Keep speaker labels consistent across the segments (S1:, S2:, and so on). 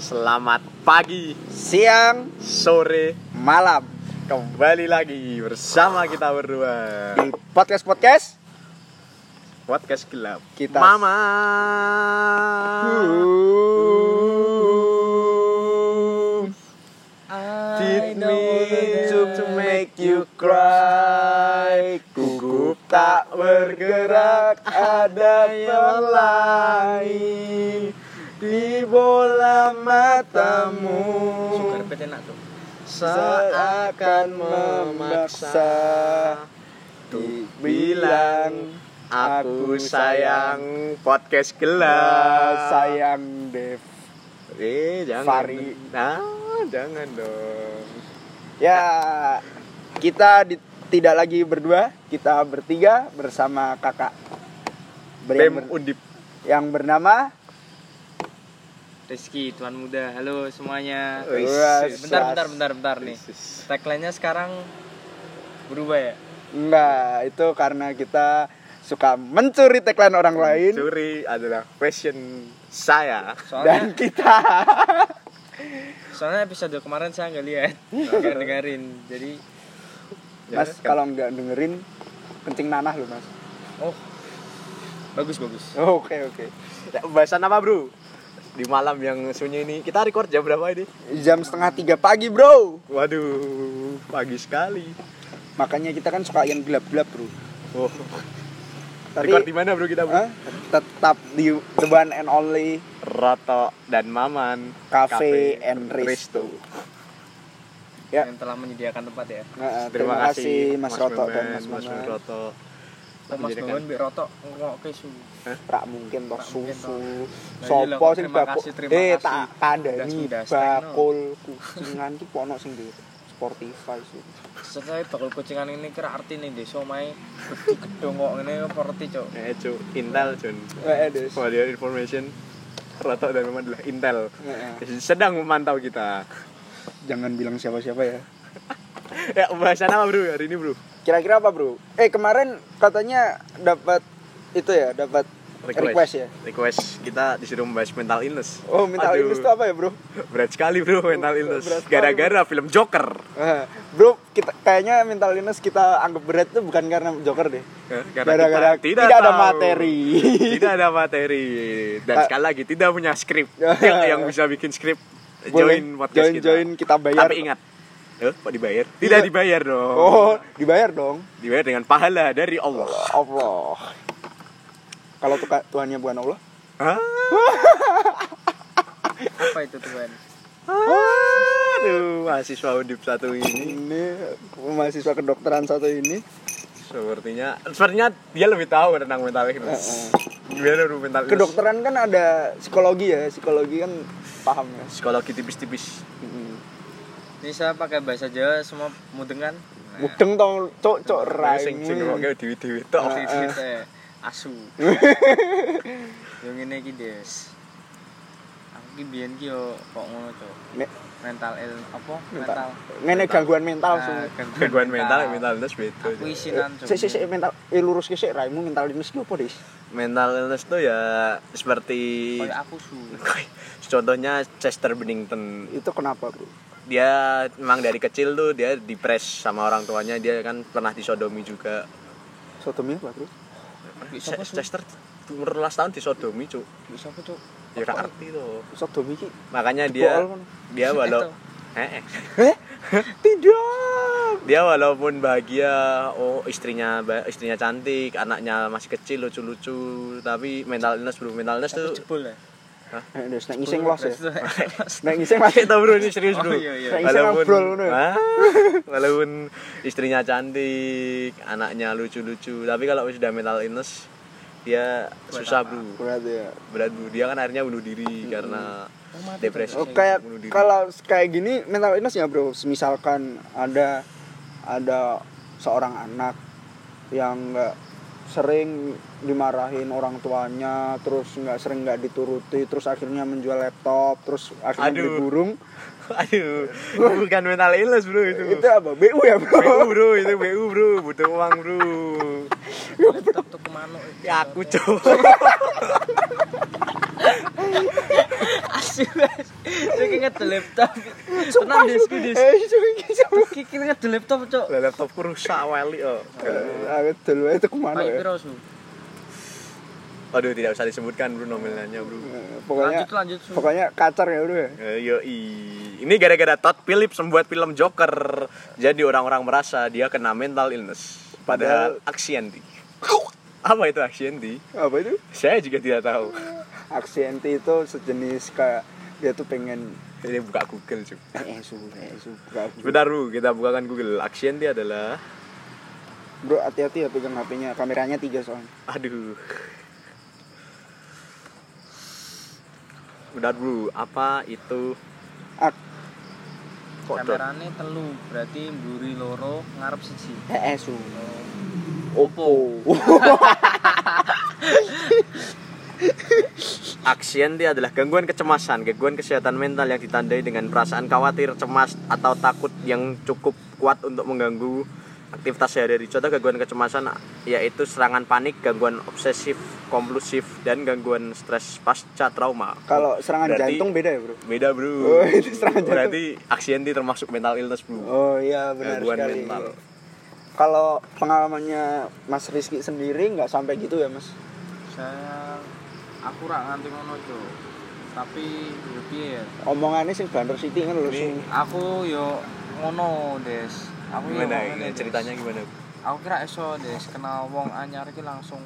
S1: Selamat pagi,
S2: siang,
S1: sore,
S2: malam
S1: kembali lagi bersama kita berdua
S2: di podcast podcast.
S1: podcast gelap.
S2: Kita-
S1: Mama.
S2: Did mean to, to make you cry Gugup tak bergerak ada yang lain Di bola matamu Seakan memaksa Untuk bilang
S1: Aku sayang podcast gelap.
S2: Sayang Dev
S1: Eh, jangan.
S2: Fari.
S1: Nah, jangan dong.
S2: Ya, kita di- tidak lagi berdua, kita bertiga bersama kakak Ber- yang,
S1: Bem
S2: ber-
S1: Undip.
S2: yang bernama
S3: Rizky, Tuan Muda, halo semuanya.
S1: Wih,
S2: Wah,
S1: sis.
S3: Bentar, bentar, bentar, bentar nih.
S1: Sis.
S3: Tagline-nya sekarang berubah ya?
S2: Enggak, itu karena kita suka mencuri tagline orang lain
S1: Curi adalah passion saya.
S2: dan
S3: Soalnya,
S2: kita
S3: soalnya episode kemarin saya nggak lihat, nggak dengerin. Jadi,
S1: Ya,
S2: Mas
S1: kan?
S2: kalau nggak dengerin kencing nanah lu Mas.
S3: oh, bagus bagus.
S2: Oke, oke.
S1: bahasan apa, Bro? Di malam yang sunyi ini kita record jam berapa ini?
S2: Jam setengah tiga pagi, Bro.
S1: Waduh, pagi sekali.
S2: Makanya kita kan suka yang gelap-gelap, Bro.
S1: Oh,
S2: Tapi
S1: record di mana, Bro? Kita, Bro?
S2: eh, tetap di The One and Only
S1: Roto dan Maman
S2: Cafe and Eh, Resto. Ya.
S3: Yang telah menyediakan tempat ya.
S2: Nah,
S1: Terima, kasih
S2: Mas, Roto dan
S1: Memes,
S2: Mas,
S1: Mas
S2: Maman.
S1: Roto.
S3: Oh, Mas
S1: Menjadikan-
S3: Bawan Mbak Roto, ngomong ke su.
S2: Rak mungkin toh
S3: Rak mungkin,
S2: susu.
S3: Nah, iya
S2: Sopo
S3: lah,
S2: sing
S3: terima
S2: bakul.
S3: kasih, terima
S2: Eh
S3: kasih.
S2: tak kandani
S3: Ndas-ndas,
S2: bakul kucingan ki pono sing di Spotify sih.
S3: Setelah bakul kucingan ini kira arti nih desa mai gede gedong kok ini seperti cok.
S1: Eh, cu, Intel, Jun.
S2: Heeh, Eh, Des.
S1: For your information, Roto dan Maman adalah Intel.
S2: Heeh.
S1: Sedang memantau kita.
S2: Jangan bilang siapa-siapa ya.
S1: Ya, pembahasan apa, Bro? Hari ini, Bro?
S2: Kira-kira apa, Bro? Eh kemarin katanya dapat itu ya, dapat request. ya.
S1: Request kita disuruh membahas mental illness.
S2: Oh, minta
S1: Aduh,
S2: illness itu apa ya, Bro?
S1: Berat sekali, Bro, mental illness.
S2: Berat sekali,
S1: Gara-gara film Joker.
S2: Eh, bro, kita kayaknya mental illness kita anggap berat tuh bukan karena Joker deh.
S1: Eh, karena
S2: Gara-gara
S1: kita tidak
S2: tidak, ada
S1: tahu.
S2: materi.
S1: tidak ada materi dan
S2: Ah. Ya,
S1: sekali lagi tidak punya skrip. Yuk, yang bisa bikin skrip
S2: Boleh,
S1: join podcast
S2: join,
S1: kita.
S2: join, kita bayar.
S1: Tapi ingat, eh, kok dibayar? Tidak
S2: Iya.
S1: dibayar dong.
S2: Oh, dibayar dong.
S1: Dibayar dengan pahala dari Allah.
S2: Allah. Kalau tuka- Tuhannya bukan Allah,
S1: Ah,
S3: Apa itu Tuhan?
S1: Ah, Aduh, mahasiswa undip satu ini
S2: ini mahasiswa kedokteran satu ini
S1: sepertinya sepertinya dia lebih tahu tentang mental illness. Gimana bro mental illness?
S2: kedokteran kan ada psikologi ya psikologi kan paham ya
S1: Psikologi tipis-tipis.
S2: Mm.
S3: Ini saya pakai bahasa Jawa semua mudeng kan? Nah,
S2: mudeng tau cok cok
S1: Sing sing
S2: raimu
S1: ngrungokne dewe-dewe tok.
S2: Eh,
S3: Tapi kita eh, asu. Yang ini iki Des. Aku ki biyen ki yo kok ngono cok.
S2: Nek-
S3: Mental il apa?
S2: mental
S3: Mental.
S2: ngene gangguan mental
S3: Nah, kan,
S2: sung
S1: Gangguan mental, mental illness beda.
S3: Aku isinan cok.
S2: sik sik sik mental eh, lurus ki sik raimu mental ini ki opo Dis?
S1: mental illness tuh ya seperti ya?
S3: Kayak aku su.
S1: contohnya Chester Bennington
S2: itu kenapa bro
S1: dia memang dari kecil tuh dia dipres sama orang tuanya dia kan pernah disodomi juga
S2: sodomi apa bro
S3: Iki
S1: Se-
S3: Siapa su?
S1: Chester umur 11 tahun disodomi cuk
S3: Iki Siapa cok?
S1: ya gak ngerti tuh
S2: sodomi ki
S1: makanya dia
S2: Dibool kan.
S1: dia walau
S3: Itu.
S1: Eh, eh.
S2: eh tidak
S1: dia walaupun bahagia oh istrinya ba- istrinya cantik anaknya masih kecil lucu-lucu tapi mental illness belum mental illness tuh
S3: Tapi jebol ya.
S2: Eh, Dis, nek ngising los ya
S3: Los.
S2: nek ngising masih
S1: Kita bro ini serius bro.
S3: Oh, iya, iya.
S2: Kayak Instagram bro, ngono ya.
S1: Ah, walaupun istrinya cantik, anaknya lucu-lucu, tapi kalau sudah mental illness dia susah bro.
S2: berat ya
S1: Berat bro. Dia kan akhirnya bunuh diri karena depresi.
S2: Hmm. Oh, kayak
S1: bunuh diri.
S2: kalau kayak gini mental illness ya bro. Misalkan ada ada seorang anak yang nggak sering dimarahin orang tuanya, terus nggak sering nggak dituruti, terus akhirnya menjual laptop, terus akhirnya
S1: Aduh.
S2: beli burung.
S1: aduh, bukan mental illness bro itu.
S2: Itu apa? BU ya
S1: BU
S2: bro?
S1: bro, itu BU bro, butuh uang bro.
S3: Laptop tuh kemana?
S1: Ya aku coba.
S3: asu. ngedelep tapi tenang disku dis.
S2: Eh, iki sumpah.
S3: Kiki ngedelep top cok.
S1: Lah laptopku rusak oh. wali kok.
S2: Aku dulu Ah, itu kemana
S3: Baik
S2: ya?
S3: piro su?
S1: Aduh tidak usah disebutkan bro nominalnya bro.
S2: Eh, Pokoknya
S3: Lanjut lanjut su.
S2: pokoknya kacar ya bro ya.
S1: Eh, Yoi. Ini gara-gara Todd Phillips membuat film Joker. Jadi orang-orang merasa dia kena mental illness. Padahal aksi anti. Apa itu aksi anti?
S2: Apa itu?
S1: Saya juga tidak tahu.
S2: Aksi anti itu sejenis kayak dia tuh pengen
S1: Jadi buka Google cuy.
S2: eh su, eh su, buka aku.
S1: Sebentar bro, kita bukakan Google. Aksi anti adalah
S2: Bro hati-hati ya pegang HP-nya, kameranya tiga soalnya.
S1: Aduh. Udah bro, apa itu
S2: Ak
S1: kok dot?
S3: Kamerane telu berarti mburi loro ngarep siji.
S2: eh eh, su.
S1: Oppo. Aksien dia adalah gangguan kecemasan, gangguan kesehatan mental yang ditandai dengan perasaan khawatir, cemas, atau takut yang cukup kuat untuk mengganggu aktivitas sehari-hari. Contoh gangguan kecemasan yaitu serangan panik, gangguan obsesif kompulsif, dan gangguan stres pasca trauma.
S2: Kalau serangan
S1: Berarti-
S2: jantung beda ya, Bro?
S1: Beda bro.
S2: Oh, itu serangan jantung.
S1: Berarti aksien dia termasuk mental illness bro.
S2: Oh iya benar
S1: gangguan
S2: sekali.
S1: mental.
S2: Kalau pengalamannya Mas Rizky sendiri nggak sampai gitu ya Mas?
S3: Saya aku rak nganti ngono cok. Tapi yo piye ya?
S2: Omongannya sih bandar City kan lu sing.
S3: Aku yo ngono des. Aku yo
S1: Gimana
S3: ngono, Des.
S1: ceritanya gimana?
S3: Aku kira iso des kenal wong anyar iki langsung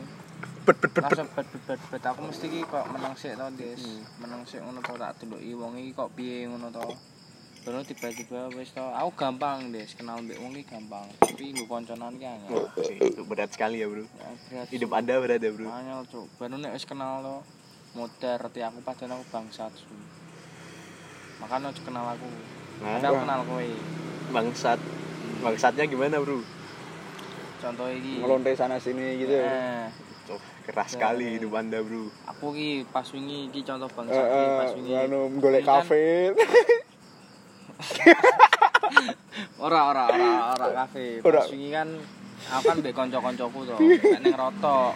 S1: Bet bet Hmm. bet bet.
S3: langsung bet bet bet bet aku mesti ki kok menang sik to Des menang sik ngono to tak deloki wong iki kok piye ngono to terus tiba-tiba wis to aku gampang Des kenal mbek wong iki gampang tapi nggo konconan ki angel
S1: Itu berat sekali ya bro.
S3: Ya, berat
S1: Hidup anda berat ya bro.
S3: angel cuk baru nek wis kenal to modar ti aku padahal aku bangsat su makanya ojo kenal aku Padahal
S1: nah.
S3: aku kenal kowe
S1: bangsat bangsatnya gimana bro?
S3: contoh iki
S2: Ngelonte sana sini gitu ya.
S3: Eh,
S1: Tuh, keras sekali hidup anda bro.
S3: aku ki pas wingi iki contoh
S2: Eh,
S3: bangsat ki
S2: eh,
S3: pas wingi
S2: anu golek
S3: Ini kan-
S2: kafe.
S3: ora ora ora ora kafe
S2: Ora.
S3: pas wingi kan aku kan mbek kanca-kancaku to nek ning rotok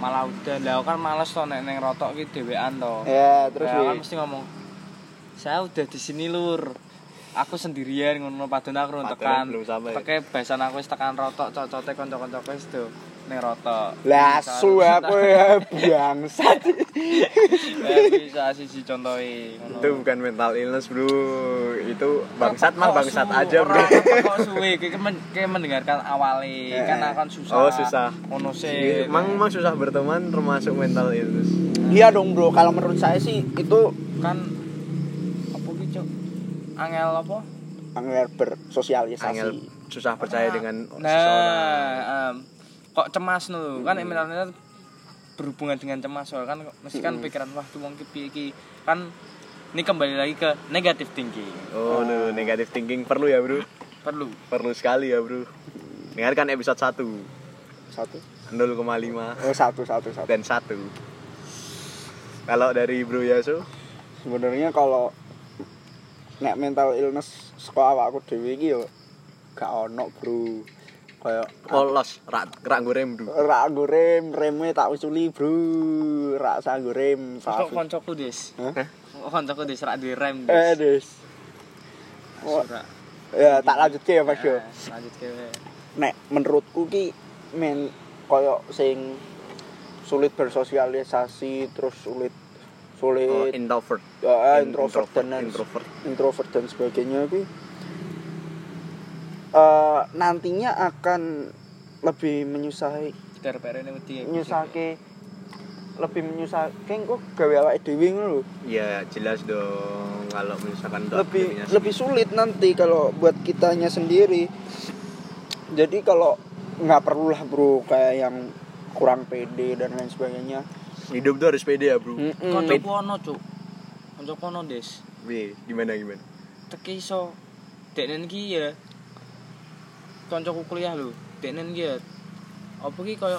S3: malah udah lah aku kan males to nek ning rotok ki dhewean to
S2: Ya, terus
S3: Lah, aku kan
S2: wi.
S3: mesti ngomong saya udah di sini lur aku sendirian ngono padahal aku
S1: Padahal
S3: tekan
S1: belum sampai.
S3: pakai bahasan aku wis tekan rotok cocote kanca-kancaku wis do ning rotok
S2: Lah su aku ya bangsat.
S3: Eh, bisa siji contohe
S1: Itu bukan mental illness bro. Itu bangsat mah
S3: Kok
S1: bangsat
S3: su-
S1: aja bro.
S3: ora, kok suwe Ki men- ki mendengarkan awali
S2: Eh.
S3: kan akan susah
S1: Oh, susah.
S3: ngono sih
S1: Emang emang susah berteman termasuk mental illness.
S2: Iya dong bro, kalau menurut saya sih itu
S3: kan apa ki cok angel apa
S1: Angel
S2: angler bersosialisasi.
S1: susah percaya dengan Oh, seseorang.
S3: nah em, kok cemas no kan mentalnya berhubungan dengan cemas soalnya kan mesti kan pikiran wah tuh wong ki piye ki kan ini kembali lagi ke negative thinking
S1: Oh, no, negative thinking perlu ya bro.
S3: perlu
S1: Perlu sekali ya bro. Dengarkan episode 1
S2: Satu.
S1: 0,5
S2: Oh, satu satu satu.
S1: dan 1 Kalau dari Bro Yasu,
S2: sebenarnya kalau nek mental illness saka awakku dhewe iki yo gak ono bro kayak
S1: polos, rak rak nggo rem, Bro.
S2: rak nggo rem remnya tak usuli bro rak sanggo rem
S3: kok
S2: safi
S3: koncoku des
S2: Hah?
S3: kok koncoku des rak di rem
S2: eh
S3: des
S2: des Oh,
S3: Asu, rak.
S2: ya tak lanjutke ya Mas yo
S3: Eh, lanjut ke
S2: nek menurutku ki men koyo sing sulit bersosialisasi terus sulit
S1: Oh,
S2: sulit
S1: introvert.
S2: ya, introvert, dan lain
S1: introvert.
S2: introvert dan sebagainya itu eh, nantinya akan lebih menyusahi
S3: dari peren ini wedi ya,
S2: menyusahke lebih menyusahkan kok gawe awake dhewe ngono lho.
S1: Ya, jelas dong kalau misalkan untuk
S2: Lebih
S1: aktivitasnya
S2: lebih sulit nanti kalau buat kitanya sendiri. Jadi kalau nggak perlulah bro kayak yang kurang pede dan lain sebagainya.
S1: sendiri. hidup tuh harus pede ya, Bro.
S2: Mm-mm.
S3: koncoku ono cuk koncoku ono des
S1: Wih, gimana gimana?
S3: teki iso deknen ki ya kancaku kuliah lho deknen ki ya apa ki koyo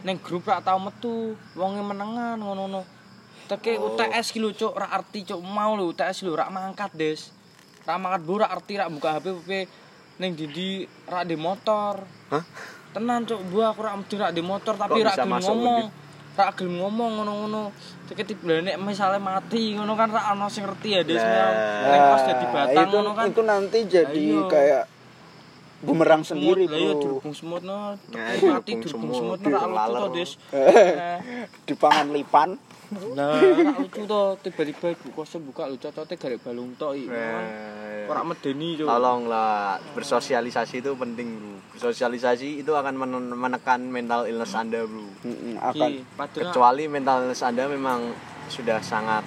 S3: ning grup rak tau metu wonge menengan ngono-ngono teki
S1: Oh.
S3: UTS ki lho cuk rak arti cuk mau lho UTS lho rak mangkat des rak mangkat bu rak arti rak buka HP PP ning didi rak di motor
S1: Hah?
S3: tenan cuk bu aku rak mesti rak di motor
S1: Kok
S3: tapi rak
S1: bisa
S3: gelem
S1: masuk
S3: ngomong rak gelem ngomong ngono-ngono tiket diblenek misalnya mati ngono kan rak ono sing ngerti ya Des
S1: Nah,
S3: nah, kos jadi batang
S2: Ah, itu,
S3: ngono kan
S2: itu nanti jadi
S3: Ayo.
S2: kayak bumerang
S3: semut
S2: sendiri
S3: lah ya
S2: bro
S3: dirubung semut no
S1: Nah,
S3: mati
S1: dirubung
S3: dirubung
S1: semut,
S3: semut
S2: gitu,
S3: no rak lucu
S1: dilaler.
S3: to Des Nah,
S2: di pangan lipan
S3: Nah, ora lucu to, tiba-tiba ibu kosnya buka lu cocote garek balung tok iki.
S2: Nah.
S3: Ora medeni
S1: Eh,
S3: yo.
S1: Tolonglah bersosialisasi itu penting bro. Bersosialisasi itu akan men- menekan mental illness anda bro.
S2: Mm-mm, akan
S3: Iki padahal
S1: Kecuali mental illness anda memang sudah sangat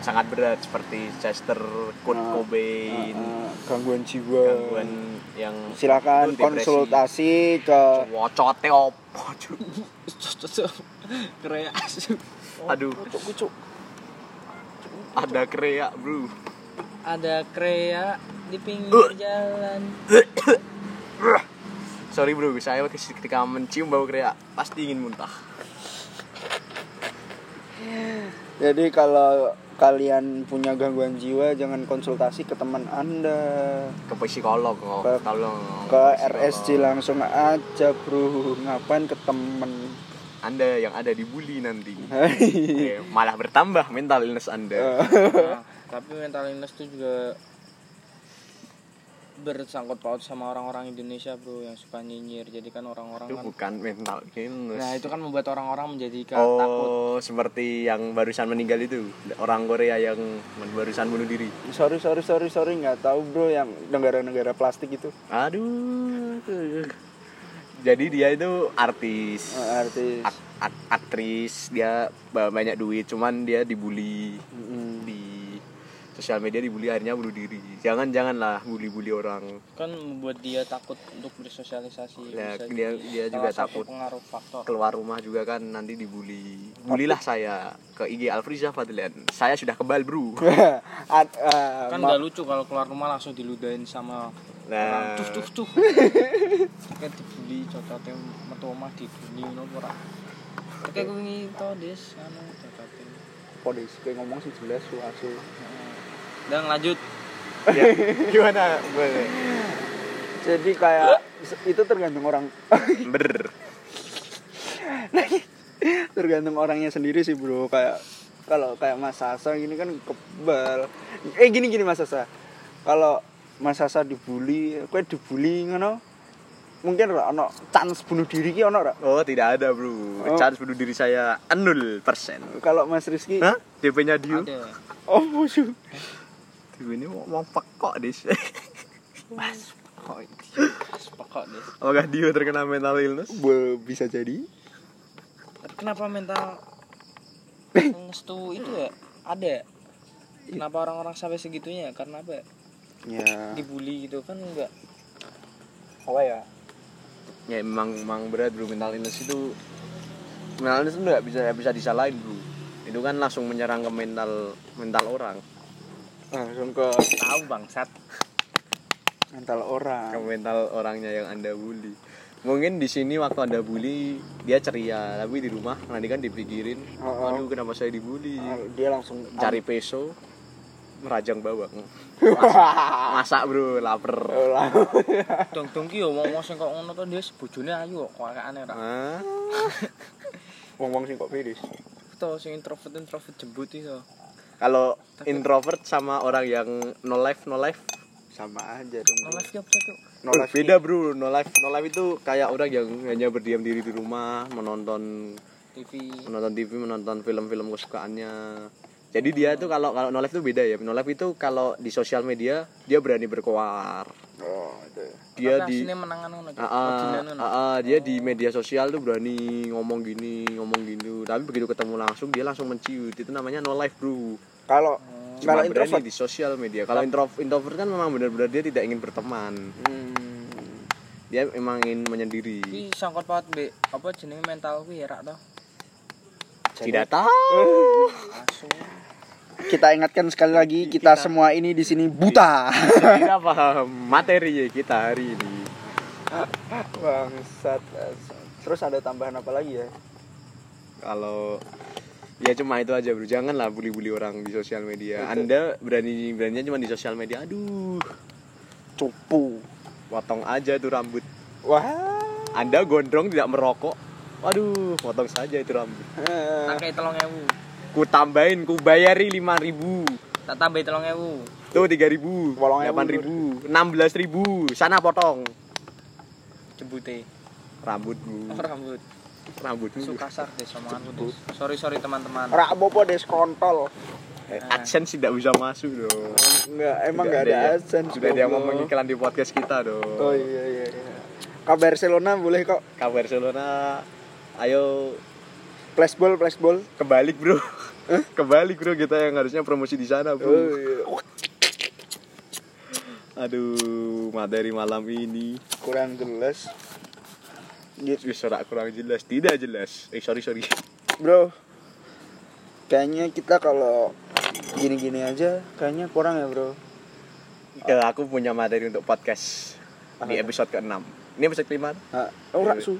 S1: sangat berat seperti Chester, Kurt
S2: Nah,
S1: Cobain,
S2: uh, gangguan jiwa
S1: Iya. gangguan yang
S2: silakan
S1: itu depresi.
S2: konsultasi ke
S1: Wocote opo Cuk?
S3: kreak asu.
S1: Aduh, ada kreak bro.
S3: Ada kreak di
S2: Uh.
S3: pinggir jalan.
S1: Sorry bro, saya ketika mencium bau kreak pasti ingin muntah.
S2: jadi kalau kalian punya gangguan jiwa jangan konsultasi ke teman anda
S1: Ke psikolog kok,
S2: Ke-
S1: tolong.
S2: ke
S1: psikolog.
S2: RSC langsung aja bro ngapain ke temen
S1: Anda yang ada dibully nanti. Eh, malah bertambah mental illness Anda.
S3: Nah, tapi mental illness itu juga bersangkut paut sama orang-orang Indonesia, Bro, yang suka nyinyir. Jadi kan orang-orang
S1: itu
S3: kan
S1: bukan mental illness.
S3: Nah, itu kan membuat orang-orang menjadi
S1: oh,
S3: takut.
S1: seperti yang barusan meninggal itu, orang Korea yang men- barusan bunuh diri.
S2: sorry sorry sorry sorry nggak tahu bro yang negara-negara plastik itu
S1: Aduh. Jadi dia itu artis,
S2: Eh, artis
S1: ak- ak- aktris, dia ba- banyak duit, cuman dia dibully
S2: Mm-mm.
S1: di sosial media dibully akhirnya bunuh diri. Jangan janganlah bully-bully orang.
S3: kan membuat dia takut untuk bersosialisasi
S1: Nah,
S3: Bisa
S1: dia-
S3: jadi
S1: dia
S3: salah
S1: juga
S3: satu
S1: takut.
S3: pengaruh faktor
S1: keluar rumah juga kan nanti dibully bulilah saya ke IG Alfriza Fadlian saya sudah kebal bro
S2: Ad- eh,
S3: kan
S2: ma-
S3: nggak lucu kalau keluar rumah langsung diludahin sama
S1: nah
S3: orang tuh tuh tuh kayak dibully cocotnya metu omah dibully ngono ku ora kayak gue ini to des anu cocotnya
S2: polisi kayak ngomong sih jelas su asu.
S3: dan lanjut
S1: ya, gimana Boleh.
S2: jadi kayak itu tergantung orang
S1: ber
S2: tergantung orangnya sendiri sih bro kayak kalau kayak Mas Sasa gini kan kebal eh gini gini Mas Sasa kalau Mas Sasa dibully kue dibully ngono mungkin ora ono chance bunuh diri ki ono ora
S1: oh tidak ada bro
S2: Oh.
S1: chance bunuh diri saya 0% persen
S2: kalau Mas Rizky
S1: Hah? DP nya dia
S3: ada
S2: oh musuh
S1: DP ini mau, mau pekok dis
S3: kok sepekok des
S1: apakah dia terkena mental illness
S2: Be- bisa jadi
S3: tapi kenapa mental
S1: Eh.
S3: illness tuh itu ya
S1: Iya.
S3: ada ya? kenapa orang-orang sampai segitunya ya? karena apa ya?
S1: Ah.
S2: ya
S3: dibully gitu kan enggak
S2: apa ya
S1: ya memang memang berat bro mental illness itu mental illness itu nggak bisa nggak bisa disalahin bro itu kan langsung menyerang ke mental mental orang
S2: langsung ke
S3: tahu bangsat
S2: mental
S1: ke
S2: orang
S1: mental orangnya yang anda bully mungkin di sini waktu anda bully dia ceria tapi di rumah nanti kan dipikirin
S2: Oh, Ah, oh.
S1: aduh kenapa saya dibully
S2: Iya, dia langsung
S1: cari peso merajang bawang masak bro lapar
S2: Oh. Eh,
S3: dong dong ki yo wong wong sing kok ngono to dia bojone ayu kok kok aneh ra
S1: Hah?
S2: ngomong sih kok virus
S3: to sing introvert introvert jembut iso
S1: kalau introvert sama orang yang no life no life
S2: sama aja dong
S3: malah siap cocok
S2: no life
S1: beda bro no life no life itu kayak orang yang hanya berdiam diri di rumah menonton
S3: TV
S1: menonton TV menonton film-film kesukaannya jadi dia itu kalau kalau no life itu beda ya no life itu kalau di sosial media dia berani berkoar
S2: oh itu
S1: dia
S3: Tapi
S1: di
S3: aslinya menangan ngono
S1: Ah, ah,
S3: anu,
S1: ah, ah, dia di media sosial tuh berani ngomong gini ngomong gitu tapi begitu ketemu langsung dia langsung menciut itu namanya no life bro
S2: kalau
S1: Cuma
S2: kalau
S1: berani
S2: introvert
S1: di sosial media kalau intro- introvert kan memang benar-benar dia tidak ingin berteman
S2: Hmm. Iya.
S1: dia memang ingin menyendiri
S3: Ki sangkut paut be apa jenenge mental kuwi ya rak to
S1: tidak tahu
S3: asu
S2: kita ingatkan sekali lagi Iya, kita, semua ini di sini buta
S1: tidak paham materi kita hari ini
S2: bangsat bangsat. terus ada tambahan apa lagi ya
S1: kalau ya cuma itu aja bro janganlah bully-bully orang di sosial media anda berani beraninya cuma di sosial media aduh
S2: cupu
S1: potong aja tuh rambut
S2: wah
S1: anda gondrong tidak merokok Waduh, potong saja itu rambut.
S2: Eh,
S3: Akeh 3000.
S1: Ku tambahin, ku bayari 5000.
S3: Tak tambah 3000.
S1: Tuh 3000, 8000,
S2: 8.000.
S1: 16000. Sana potong
S3: Jebute.
S1: rambutmu.
S3: Oh, rambut.
S1: Rambutmu.
S3: Su kasar deh omonganku Des. Sorry sorry teman-teman.
S2: rak apa des kontol.
S1: Eh, AdSense tidak bisa masuk dong.
S2: Enggak, Nah. emang
S1: Sudah
S2: enggak ada
S1: yang-
S2: adsense.
S1: Sudah dia
S2: goblok.
S1: mau mengiklan di podcast kita dong.
S2: Oh iya iya iya. Ke Barcelona boleh kok.
S1: Ke Barcelona. Ayo
S2: Flashball, flashball.
S1: kebalik, Bro. Kebalik, Bro. Kita yang harusnya promosi di sana, Bro.
S2: Oh, iya.
S1: Aduh, materi malam ini
S2: Kurang jelas. Gitu.
S1: wis ora kurang jelas, tidak jelas. Eh, sorry, sorry.
S2: Bro, kayaknya kita kalau gini-gini aja kayaknya kurang ya bro.
S1: Eh, aku punya materi untuk podcast di episode ke-6. Ini episode ke-5.
S2: Ah, Oh, rak su.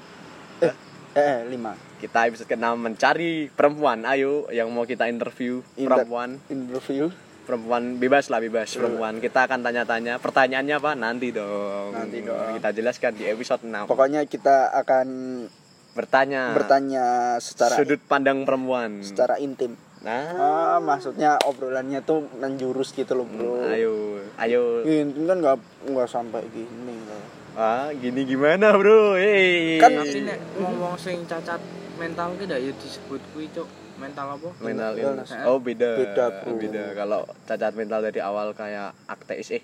S2: Eh, eh, lima.
S1: Kita episode ke-6 mencari perempuan. Ayo yang mau kita interview
S2: Inter- Iya.
S1: perempuan.
S2: Interview.
S1: Perempuan bebas lah, bebas perempuan. Kita akan tanya-tanya. Pertanyaannya apa? Nanti dong.
S2: Nanti dong.
S1: Kita jelaskan di episode 6.
S2: Pokoknya kita akan
S1: Bertanya.
S2: bertanya secara
S1: Ah. sudut pandang perempuan.
S2: secara intim.
S1: Nah,
S2: Ah, maksudnya obrolannya tuh menjurus gitu loh bro.
S1: Hmm, ayo, ayo.
S2: Intim kan nggak nggak sampai gini. loh.
S1: Ah, gini gimana, Bro? Hei.
S2: Kan-
S3: Tapi nek wong-wong sing cacat mental ki ndak ya disebut kuwi cuk. Mental apa?
S1: mental illness.
S2: Illness.
S1: Oh beda.
S2: Iya. Beda, Bro.
S1: Beda. Kalau cacat mental dari awal kayak akteis eh.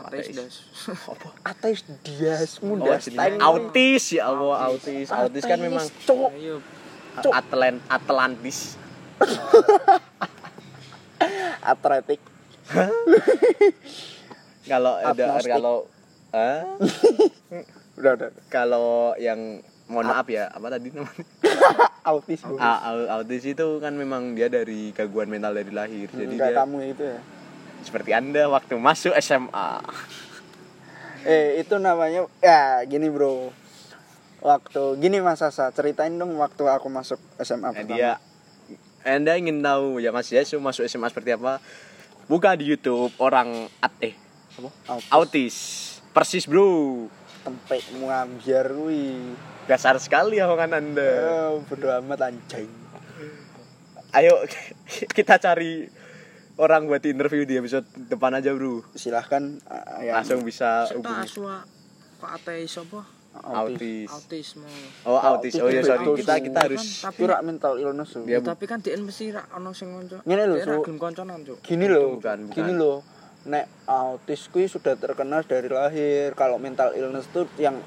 S3: Ateis Des.
S1: Apa?
S2: Ateis diasmu
S1: Oh,
S2: das
S1: aslinya
S2: time.
S1: autis ya Allah, autis. Autis kan
S2: Ateis,
S1: memang
S2: cowok.
S3: Ayo.
S2: Cuk.
S1: Atlan Atlantis.
S2: atletik
S1: Kalau ada
S2: Atlastik.
S1: kalau ah,
S2: udah udah udah.
S1: kalau yang mohon maaf ya, apa tadi namanya?
S2: autis bu
S1: Ah, au- autis itu kan memang dia dari gangguan mental dari lahir. Jadi
S2: enggak
S1: dia
S2: kamu Hmm, itu ya
S1: seperti Anda waktu masuk SMA.
S2: eh itu namanya ya gini bro waktu gini mas Sasa ceritain dong waktu aku masuk
S1: Nah,
S2: SMA pertama
S1: dia Anda ingin tahu ya Mas Yesu masuk SMA seperti apa? Buka di YouTube orang at eh apa?
S2: Autis.
S1: Autis. Persis, Bro.
S2: tempe muambiar wih
S1: Dasar sekali ya omongan Anda.
S2: Eh, bodo amat anjing
S1: Ayo kita cari orang buat interview di episode depan aja, Bro.
S2: silahkan ah,
S1: Iya,
S2: ya
S1: Langsung bisa
S3: Kita
S1: hubungi
S3: aswa kok ateis apa?
S1: autis.
S2: autis
S3: Autisme.
S1: Oh, autis. Oh ya, sorry.
S2: Autis.
S1: Kita kita
S3: Kan,
S1: harus
S3: tapi
S2: itu rak mental illness tuh
S1: Dia-
S3: Ya, tapi kan DN mesti rak ono sing kanca.
S2: Ngene lho,
S3: Dia rak
S2: Cuk.
S3: gelem kancanan, Cuk.
S2: gini loh
S1: bukan, bukan.
S2: gini loh nek autis kui sudah terkenal dari lahir kalau mental illness tuh yang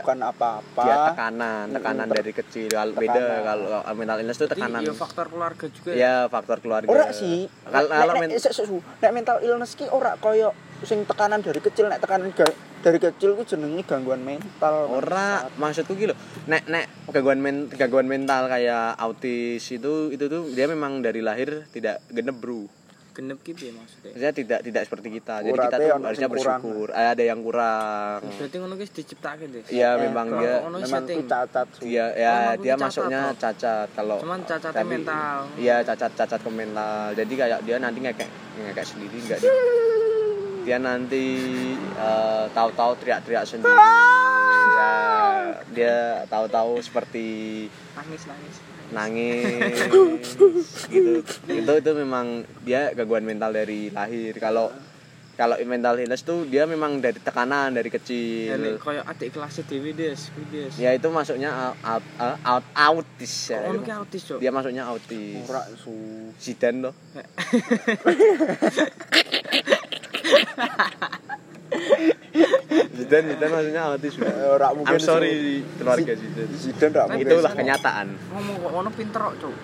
S1: Dia-
S2: bukan apa-apa
S1: dia tekanan, tekanan
S2: Mm, ter-
S1: dari kecil. Kalau beda
S2: tekanan.
S1: kalau mental illness itu tekanan.
S3: Jadi ya faktor keluarga juga ya.
S1: Ya, faktor keluarga.
S2: ora sih
S1: Kalau
S2: Nek-
S1: kalau
S2: nek-
S1: men-
S2: nek- sek- sek- su. nek mental illness ki ora koyo sing tekanan dari kecil nek tekanan ga- dari kecil ku jenenge gangguan mental
S1: ora maksudku gitu nek nek gangguan men, gangguan mental kayak autis itu itu tuh dia memang dari lahir tidak genep bro
S3: Genep ki piye maksudnya?
S1: maksudnya tidak tidak seperti kita jadi
S2: Ora
S1: kita
S2: teh
S1: tuh
S2: ono
S1: harusnya
S2: sing kurang.
S1: bersyukur Eh, ada yang kurang
S3: Berarti ngono ki diciptake, Des.
S1: ya
S2: Eh,
S1: memang
S3: kalau
S1: dia
S3: ono
S2: memang
S3: setting.
S2: ku cacat su.
S1: dia ya
S3: Kalau aku
S1: dia
S3: cacat,
S1: masuknya
S3: Bro.
S1: cacat kalau
S3: Cuman cacatnya
S1: tapi-
S3: mental.
S1: iya cacat cacat ke mental jadi kayak dia nanti ngekek ngekek sendiri enggak di- dia nanti eh, tahu-tahu teriak-teriak sendiri ya, dia tahu-tahu seperti
S3: Nangis nangis.
S1: nangis gitu itu itu memang dia gangguan mental dari lahir kalau kalau mental illness tuh dia memang dari tekanan dari
S3: Ya
S1: kecil
S3: nek koyo adik kelas dhewe, Des. Kuwi, Des.
S1: ya itu masuknya out, out, out, autis ya
S3: Kok Ono ki autis, Cuk.
S1: dia masuknya autis
S2: ora su
S1: Zidane loh Zidane Zidane maksudnya autis bro.
S2: Eh, ora mungkin
S1: I'm sorry keluarga Zidane
S2: Zidane ora mungkin
S1: itulah
S2: su.
S1: kenyataan
S3: Ngomong kok ono pinter kok, Cuk.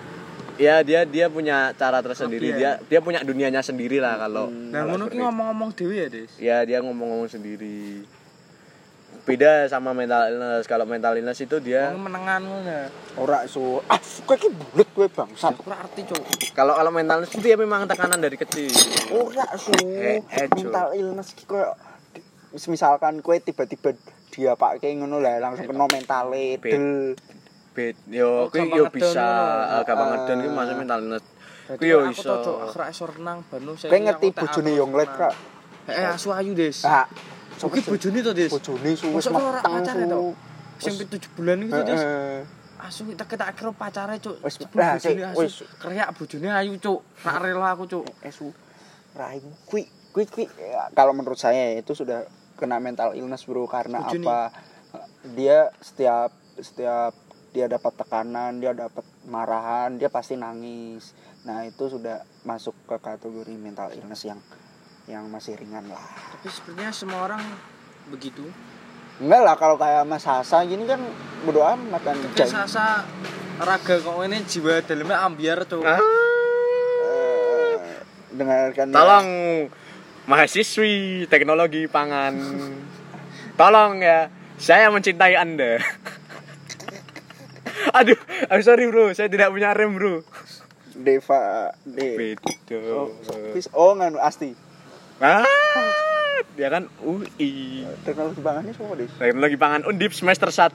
S1: ya dia dia punya cara tersendiri
S3: Lebih
S1: dia
S3: ya.
S1: dia punya dunianya sendiri lah kalau kalau
S3: Nah, ngono ki
S1: seperti itu.
S3: ngomong-ngomong dhewe ya, Des.
S1: ya dia ngomong-ngomong sendiri beda sama mental illness kalau mental illness itu dia
S3: Wong menengan ngono.
S2: ora su ah su, kowe ki bulet kowe bangsat
S3: Aku ora arti, Cuk.
S1: kalau kalau mental illness itu dia memang tekanan dari kecil
S2: ora su
S1: Eh, eh, Su.
S2: mental illness ki koyo misalkan kowe tiba-tiba dia pakai ngono lah langsung kena mentale
S1: Bed.
S2: del
S1: bed yo
S3: Oh,
S1: kui
S3: gampang
S1: yo
S3: ngedon
S1: bisa
S3: ngono.
S1: eh, gampang
S2: Ah.
S1: ngedon kui masuk mental illness
S3: Dadi
S1: kui yo
S3: aku
S1: iso
S3: tau, Cuk, aku ora iso renang banu saya.
S2: kowe ngerti bojone Yonglet ra
S3: Eh, asu ayu, Des.
S2: ah
S3: Oke, bojone to, Des.
S2: bojone su wis
S3: Masuk ora
S2: meteng
S3: pacarnya,
S2: su
S3: Cuk. Sing 7 bulan itu, Des.
S2: Heeh.
S3: asu kita kita kira pacare cuk
S2: Wis,
S3: Cebul
S2: lah,
S3: bojone
S2: cik,
S3: asu.
S2: wis.
S3: Kreak bojone ayu cuk tak rela aku cuk
S2: esu raih kui kui kui Ya, kalau menurut saya itu sudah kena mental illness bro karena
S3: Setuju
S2: apa dia setiap setiap dia dapat tekanan dia dapat marahan dia pasti nangis nah itu sudah masuk ke kategori mental illness yang yang masih ringan lah
S3: tapi sepertinya semua orang begitu
S2: enggak lah kalau kayak Mas Hasa gini kan bodo amat kan
S3: tapi
S2: Jai-
S3: sasa raga kok ini jiwa dalamnya ambiar cuk
S1: Ah,
S2: eh, dengarkan
S1: tolong mahasiswi teknologi pangan. Tolong ya, saya mencintai Anda. Aduh, I'm sorry bro, saya tidak punya rem bro.
S2: Deva De
S1: Bedo.
S2: Oh,
S3: eh.
S2: Fis- oh nganu Asti
S1: Ah, dia kan UI.
S2: teknologi bangannya semua deh
S1: Teknologi pangan Undip semester 1.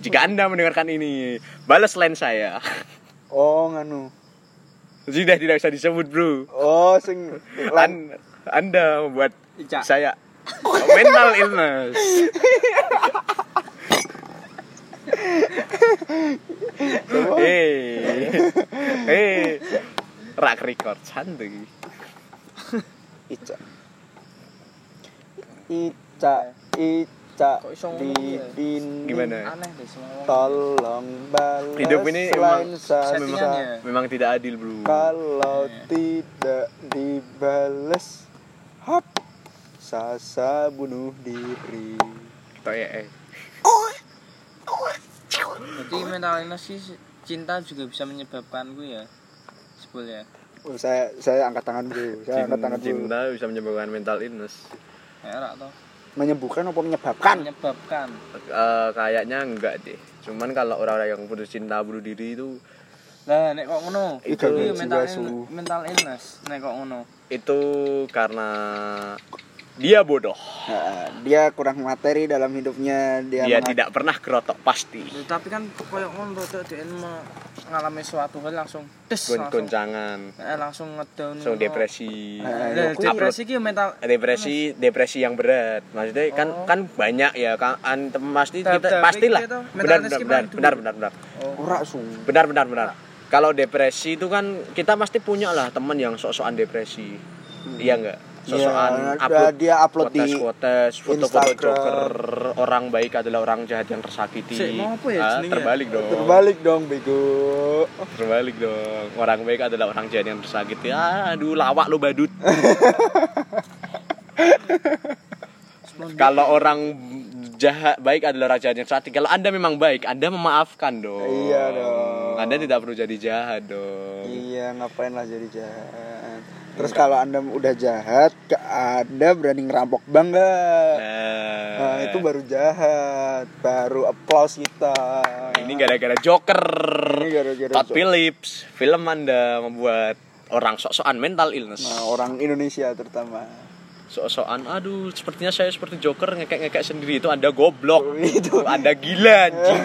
S1: Jika Anda mendengarkan ini, balas line saya.
S2: oh nganu
S1: Sudah tidak bisa disebut, Bro.
S2: Oh, sing lan
S1: An- anda membuat
S3: Ica.
S1: saya mental illness. Hei, hei, rak record santuy.
S2: Ica. Ica, Ica,
S3: Kok iso ngomong ya?
S2: Didin.
S1: Gimana?
S3: aneh deh semua orang
S2: Tolong balas.
S1: Hidup ini
S2: lain
S1: memang
S2: sasa.
S3: settingan ya?
S1: Memang tidak adil bro.
S2: Kalau
S3: Iya.
S2: tidak dibales, hap, sasa bunuh diri.
S1: Toh ya, eh.
S3: berarti mental illness sih cinta juga bisa menyebabkan gue ya sebel ya
S2: Oh, saya saya angkat tangan dulu. Saya angkat tangan
S1: Cin-
S2: Ya, dulu.
S1: Cinta bisa menyebabkan mental illness.
S3: erak toh
S2: Menyembuhkan apa menyebabkan?
S1: Iya.
S3: menyebabkan
S1: Eh, kayaknya enggak deh. Cuman kalau orang-orang yang putus cinta bunuh diri itu
S3: lah nek kok ngono
S2: Itu
S3: Kuwi
S2: jiwa
S3: mental
S2: su.
S3: ill- mental illness nek kok ngono
S1: itu karena dia bodoh.
S2: Nah, dia kurang materi dalam hidupnya. Dia,
S1: dia
S2: mengaku-
S1: tidak pernah kerotok pasti.
S3: Loh, tapi kan koyo ngono tuh dia mengalami suatu hal langsung tes
S1: Gon
S3: langsung
S1: goncangan,
S3: eh, langsung
S1: langsung
S3: ngedown Eh,
S2: Hmm.
S3: ngono.
S1: depresi.
S2: Nah,
S3: Lah,
S2: Aku
S3: depresi ki mental
S1: Depresi, depresi yang berat. Maksudnya kan
S3: Oh.
S1: kan banyak ya kan an- pasti
S3: Tahap-
S1: kita
S3: tahap
S1: pastilah.
S3: gitu. Mental
S1: Benar
S3: illness
S1: benar
S3: gimana
S1: benar
S3: dulu?
S1: benar benar benar.
S2: Ora sung.
S1: Benar benar benar. Kalau depresi itu kan kita pasti punya lah teman yang sok-sokan depresi. Iya enggak? Sok-sokan
S2: Hmm. Iya, dia upload di
S1: quotes, foto-foto
S2: Instagram.
S1: joker orang baik adalah orang jahat yang tersakiti.
S3: Sik, mau apa ya
S1: Ah,
S3: jenengnya?
S1: terbalik dong.
S2: Terbalik dong bego.
S1: Terbalik dong. Orang baik adalah orang jahat yang tersakiti. Ah, Aduh, lawak lu badut. Kalau orang jahat baik adalah orang jahat yang tersakiti. Kalau Anda memang baik, Anda memaafkan dong.
S2: Iya dong.
S1: Anda tidak perlu jadi jahat dong.
S2: Iya, ngapain lah jadi jahat. Terus kalau Anda udah jahat, ke Anda berani ngerampok bank nggak? Nah, itu baru jahat, baru applause kita.
S1: Eh, ini gara-gara Joker.
S2: Ini gara-gara
S1: Todd
S2: Joker.
S1: Phillips, film Anda membuat orang sok-sokan mental illness.
S2: Nah, orang Indonesia terutama.
S1: sok-sokan aduh sepertinya saya seperti joker ngekek-ngekek sendiri itu anda goblok itu
S2: Itu.
S1: anda gila anjing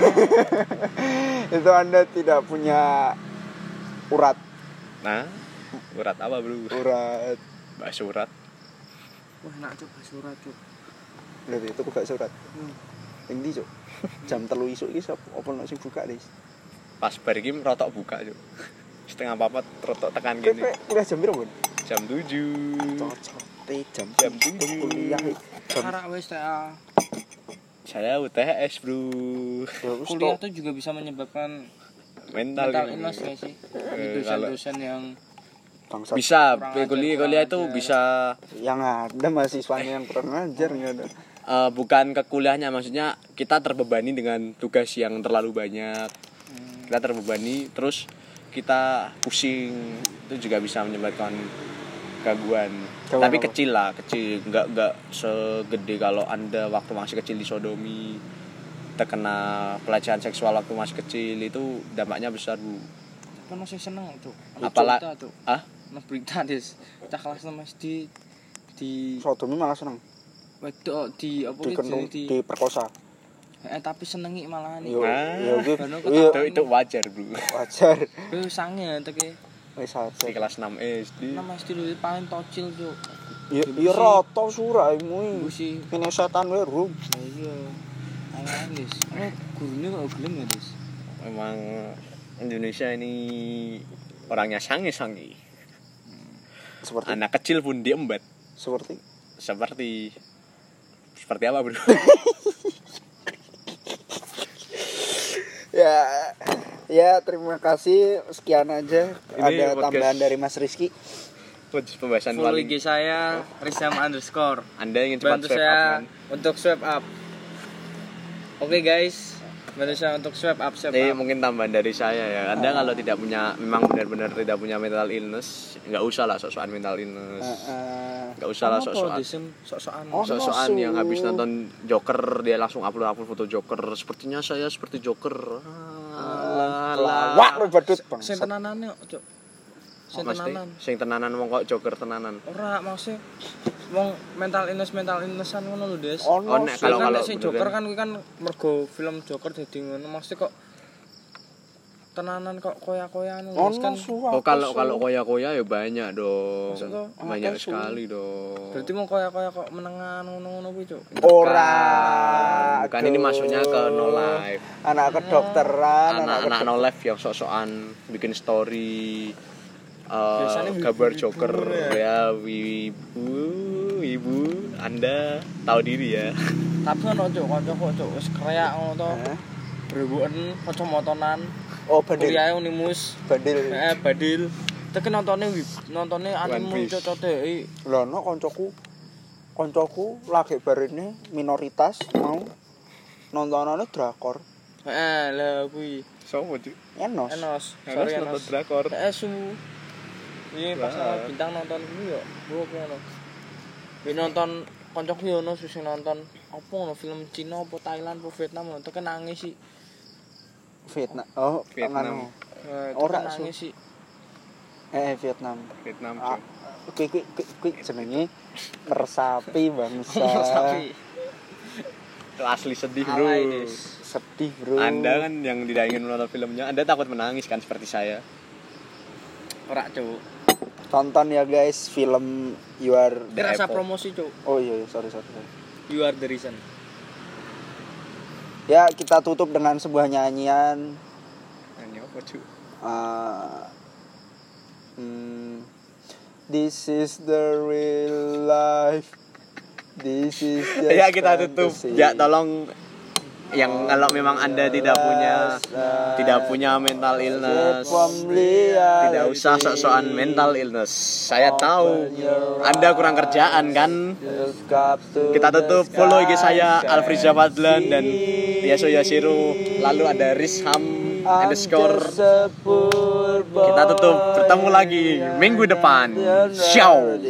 S2: itu Anda tidak punya urat,
S1: nah urat apa bro
S2: urat.
S1: bahas urat
S3: wah enak cuk surat cuk
S2: Berarti itu buka surat.
S3: Hmm.
S2: Yang di, Cuk. Jam telu isuk iki sapa apa nek sing buka, Lis?
S1: pas bar ini rotok buka Cuk. setengah papat rotok tekan
S2: Kowe
S1: gini
S2: kowe kuliah jam piro, Bun?
S1: jam 7
S2: Cocok. Jam
S1: Jam
S2: tujuh
S1: tujuh.
S2: kuliah. Jam
S3: Arak wis ah. ta
S1: saya UTS bro
S2: Ya
S3: kuliah tuh juga bisa menyebabkan
S1: mental,
S3: mental
S1: gini.
S3: illness gak sih
S1: Eh,
S3: Di
S1: kalau-
S3: dosen-dosen yang
S2: bangsa
S1: bisa
S3: Kurang ajar,
S1: kuliah
S3: kurang
S1: kuliah itu
S3: ajar.
S1: bisa
S2: yang ada mahasiswanya yang kurang ajar nggak ada
S1: eh, bukan ke kuliahnya maksudnya kita terbebani dengan tugas yang terlalu banyak
S2: Hmm.
S1: kita terbebani terus kita pusing itu juga bisa menyebabkan gangguan
S2: Gangguan
S1: tapi
S2: apa?
S1: kecil lah kecil nggak nggak segede kalau anda waktu masih kecil disodomi terkena pelecehan seksual waktu masih kecil itu dampaknya besar bu
S3: kan masih seneng cuk
S1: Apala-
S3: Berita, cuk
S1: ah
S3: Nah, berita des cah kelas enam SD di
S2: sodomi malah seneng
S3: wedok di apa ki
S2: dikenung
S3: jenenge di
S2: diperkosa
S3: eh tapi senengi malahan
S2: yo
S3: iki.
S1: Ah.
S2: yo gitu
S3: Baru
S2: yo
S1: itu, itu wajar bu
S2: wajar
S3: Kuwi sange tek e.
S2: wis
S1: di
S2: aja
S1: kelas 6 SD
S3: Nama SD lu paling tocil cuk.
S2: yo yo roto suraimu
S3: Busi.
S2: ini
S3: Nah,
S2: setan we rum
S3: Iya. Ayo Des. Ana gurune kok Oh, gelem ya Des.
S1: Emang Indonesia ini orangnya sange-sange.
S2: seperti
S1: Anak kecil pun diembat
S2: seperti
S1: seperti seperti apa bro?
S2: ya ya terima kasih sekian aja
S1: Ini
S2: ada
S1: podcast-
S2: tambahan dari Mas Rizky
S1: Pembahasan
S3: Follow
S1: paling
S3: IG saya Rizam underscore.
S1: Anda ingin cepat
S3: Bantu
S1: swipe up
S3: saya
S1: kan?
S3: untuk swipe up. Oke guys, bantu saya untuk swipe up swipe
S1: Ini
S3: up.
S1: mungkin tambahan dari saya ya. Anda kalau
S3: Ah.
S1: tidak punya memang benar-benar tidak punya mental illness, nggak usah lah sok-sokan mental illness.
S3: Ah,
S2: Eh,
S1: Nggak usah lah
S3: Apa,
S1: sok-sokan.
S3: Disim? sok-sokan.
S2: Oh.
S1: Sok-sokan
S2: Masuk.
S1: yang habis nonton Joker dia langsung upload-upload foto Joker. Sepertinya saya seperti Joker. Ah,
S2: pelawak lu badut
S3: Sing
S2: bangsat.
S3: tenanane kok, Cuk. Sing
S1: Mesti
S3: tenanan.
S1: sing tenanan wong kok Joker tenanan.
S3: Ora maksudnya wong mental illness mental illnessan ngono lho, Des.
S2: Ono
S1: Oh, nek
S2: sih.
S1: kalau-
S3: kalau kalau
S1: beneran.
S3: Joker kan kuwi kan mergo film Joker dadi ngono maksudnya kok tenanan kok koya-koyan wis
S2: ono
S3: kan
S2: suwa
S1: Oh kalau
S2: suwa.
S1: kalau koya-koya ya banyak dong.
S3: Maksud tuh,
S1: banyak
S2: apa sih?
S1: sekali dong.
S3: berarti mau koya-koya kok menengan ngono-ngono kuwi cuk
S2: ora
S1: Bukan Kan, ini
S2: aduh.
S1: maksudnya ke no life.
S2: anak kedokteran
S1: Anak-anak
S2: kedok-
S1: no life yang sok-sokan bikin story eh,
S3: Biasanya
S1: gambar
S3: wibu-wibu
S1: Joker ya ibu ibu Anda tahu diri ya.
S3: tapi ono cuk kanca kok cuk wis kreak ngono to
S1: Eh.
S2: Hah?
S3: brewoken kacamatanan
S2: oh bandil
S3: kuliahe e unimus
S2: bandil
S3: eh badil tekan nontonnya wib nontonnya
S1: One
S3: anime
S1: Piece.
S3: cuk cuk deh
S2: lho no koncoku koncoku lagi barene minoritas mau nontonannya drakor
S3: eh lah kuwi
S1: Sopo cuy?
S2: enos
S3: enos
S1: Harus
S3: sorry
S1: nonton
S3: enos
S1: drakor.
S3: Eh suhu. Iya pas
S1: Wah.
S3: awal bintang nonton kuwi yo. Bro kuwi ono. Kuwi nonton kancaku yo ono sing nonton apa ngono film Cina apa Thailand apa Vietnam ngono tekan nangis sih.
S2: Vietnam oh
S1: Vietnam.
S2: Vietnam
S3: Eh, tekan
S2: Ora, Su.
S3: nangis sih.
S2: eh Vietnam
S1: Vietnam
S2: Ah,
S1: cuy.
S2: kuwi kuwi kuwi- kuwi jenenge meresapi bangsa
S3: Tapi
S1: Itu asli sedih, Eh, Bro.
S3: alay guys.
S2: sedih bro
S1: Anda kan yang tidak ingin menonton filmnya, Anda takut menangis kan seperti saya.
S3: Ora cuk.
S2: tonton ya guys film you are
S1: The
S3: Terasa
S1: Apple.
S3: promosi cuk.
S2: oh iya iya, sorry sorry, sorry.
S3: You are the reason.
S2: ya kita tutup dengan sebuah nyanyian
S3: Nah,
S1: Ini apa cuy?
S2: Uh, mm, this is the real life. This is just
S1: ya kita tutup
S2: fantasy.
S1: ya tolong yang kalau memang anda tidak punya
S2: jelas.
S1: tidak punya mental illness
S2: Pembelian.
S1: ya, tidak usah sok-sokan mental illness saya tahu anda kurang kerjaan kan
S2: Just got to
S1: kita tutup
S2: the
S1: follow IG
S2: sky,
S1: saya
S2: sky.
S1: Alfriza Fadlan dan Yaso Yasiru lalu ada Rizham
S2: I'm
S1: underscore
S2: just a poor
S1: kita tutup
S2: boy.
S1: bertemu lagi minggu depan ciao